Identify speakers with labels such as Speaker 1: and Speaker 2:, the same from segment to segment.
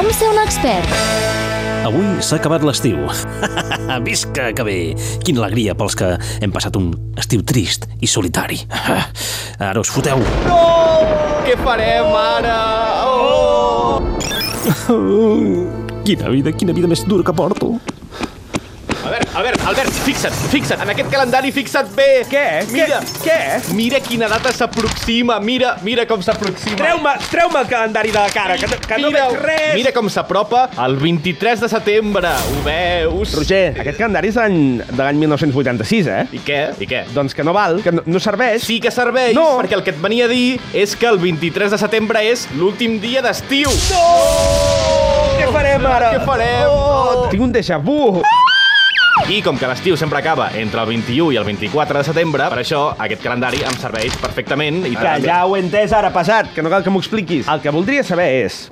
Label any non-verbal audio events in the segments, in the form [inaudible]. Speaker 1: l'expert.
Speaker 2: Avui s'ha acabat l'estiu. [laughs] Visca, que bé! Quina alegria pels que hem passat un estiu trist i solitari. [laughs] Ara us foteu.
Speaker 3: Què farem ara? Oh!
Speaker 2: Quina vida, quina vida més dura que porto.
Speaker 3: Albert, Albert, Albert, fixa't, fixa't. En aquest calendari fixa't bé.
Speaker 4: Què?
Speaker 3: Mira,
Speaker 4: Què?
Speaker 3: mira quina data s'aproxima. Mira, mira com s'aproxima.
Speaker 4: Treu-me treu el calendari de la cara, que no, que no
Speaker 3: Mira-
Speaker 4: veig res!
Speaker 3: Mira com s'apropa el 23 de setembre. Ho veus?
Speaker 4: Roger, aquest calendari és de l'any- de l'any 1986, eh?
Speaker 3: I què? I què?
Speaker 4: Doncs que no val, que no, no serveix.
Speaker 3: Sí que serveix,
Speaker 4: No.
Speaker 3: perquè el que et venia a dir és que el 23 de setembre és l'últim dia d'estiu.
Speaker 4: No! Què farem ara?
Speaker 3: Què farem?
Speaker 4: Oh, tinc un déjà vu.
Speaker 3: I com que l'estiu sempre acaba entre el 21 i el 24 de setembre, per això aquest calendari em serveix perfectament. I
Speaker 4: Que Ah, ja ho he entès ara passat, que no cal que m'ho expliquis. El que voldria saber és...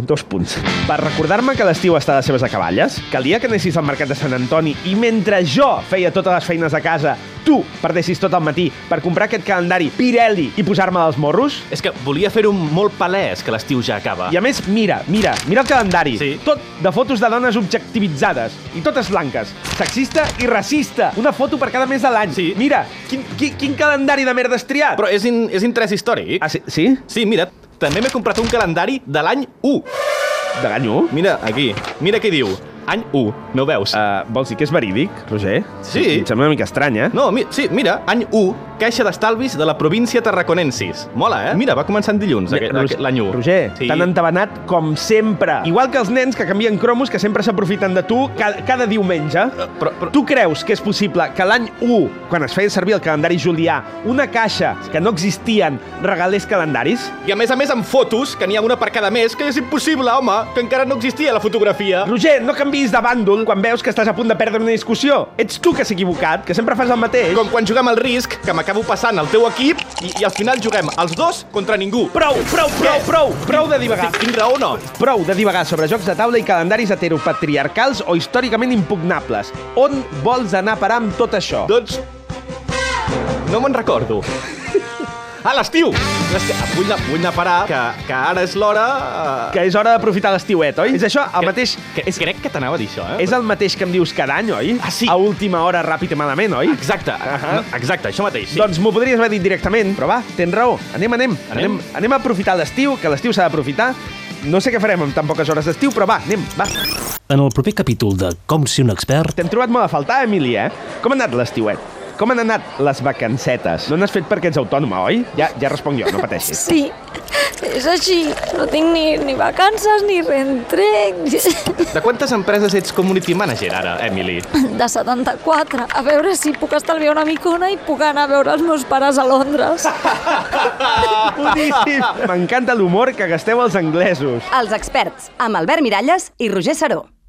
Speaker 4: Dos punts. Per recordar-me que l'estiu està a les seves acaballes, calia que anessis al mercat de Sant Antoni i mentre jo feia totes les feines de casa, tu perdessis tot el matí per comprar aquest calendari Pirelli i posar-me els morros?
Speaker 3: És que volia fer-ho molt palès, que l'estiu ja acaba.
Speaker 4: I a més, mira, mira, mira el calendari.
Speaker 3: Sí.
Speaker 4: Tot de fotos de dones objectivitzades. I totes blanques. Sexista i racista. Una foto per cada mes de l'any.
Speaker 3: Sí.
Speaker 4: Mira, quin, quin, quin calendari de merda has triat.
Speaker 3: Però és, in, és interès històric.
Speaker 4: Ah, sí? sí?
Speaker 3: Sí, mira, també m'he comprat un calendari de l'any 1.
Speaker 4: De l'any 1?
Speaker 3: Mira, aquí. Mira què diu. Any 1. No ho veus?
Speaker 4: Uh, vols dir que és verídic, Roger?
Speaker 3: Sí.
Speaker 4: Em sembla una mica estrany, eh?
Speaker 3: No, mi sí, mira, any 1, Caixa d'Estalvis de la província Tarraconensis. Mola, eh? Mira, va començar en dilluns, aquest-
Speaker 4: Ros-
Speaker 3: aquest- l'any 1.
Speaker 4: Roger,
Speaker 3: sí.
Speaker 4: sí. t'han entabanat com sempre. Igual que els nens que canvien cromos que sempre s'aprofiten de tu cada, cada diumenge.
Speaker 3: però- però-
Speaker 4: Tu creus que és possible que l'any 1, quan es feia servir el calendari julià, una caixa que no existien regalés calendaris?
Speaker 3: I a més a més amb fotos, que n'hi ha una per cada mes, que és impossible, home, que encara no existia la fotografia.
Speaker 4: Roger, no canvis de bàndol quan veus que estàs a punt de perdre una discussió. Ets tu que s'ha equivocat, que sempre fas el mateix.
Speaker 3: Com quan juguem al risc, que m'acabo passant al teu equip i, i al final juguem els dos contra ningú.
Speaker 4: Prou, prou, prou,
Speaker 3: Què?
Speaker 4: prou, prou de divagar.
Speaker 3: Tinc, tinc raó o no?
Speaker 4: Prou de divagar sobre jocs de taula i calendaris heteropatriarcals o històricament impugnables. On vols anar a parar amb tot això?
Speaker 3: Doncs... No me'n recordo. A l'estiu! L'estiu- Vull, anar- vull anar a parar, que, que ara és l'hora... eh,
Speaker 4: Que és hora d'aprofitar l'estiuet, oi? És això el mateix...
Speaker 3: Que,
Speaker 4: És,
Speaker 3: crec que t'anava a dir això, eh?
Speaker 4: és el mateix que em dius cada any, oi?
Speaker 3: Ah, sí.
Speaker 4: A última hora, ràpid i malament, oi?
Speaker 3: Exacte,
Speaker 4: Ahà.
Speaker 3: no, exacte, això mateix. Sí.
Speaker 4: Doncs m'ho podries haver dit directament, però va, tens raó. Anem, anem.
Speaker 3: Anem?
Speaker 4: Anem, anem a aprofitar l'estiu, que l'estiu s'ha d'aprofitar. No sé què farem amb tan poques hores d'estiu, però va, anem, va.
Speaker 2: En el proper capítol de Com si un expert...
Speaker 4: T'hem trobat molt a faltar, Emili, eh? Com ha anat l'estiuet? Com han anat les vacancetes? No n'has fet perquè ets autònoma, oi? Ja, ja responc jo, no pateixis.
Speaker 5: Sí, és així. No tinc ni, ni vacances ni rentrec.
Speaker 3: Doncs, De quantes empreses ets community manager ara, Emily?
Speaker 5: [laughs] De 74. A veure si puc estalviar una micona i puc anar a veure els meus pares a Londres.
Speaker 4: [laughs] Boníssim! M'encanta l'humor que gasteu els anglesos.
Speaker 6: Els experts, amb Albert Miralles i Roger Saró.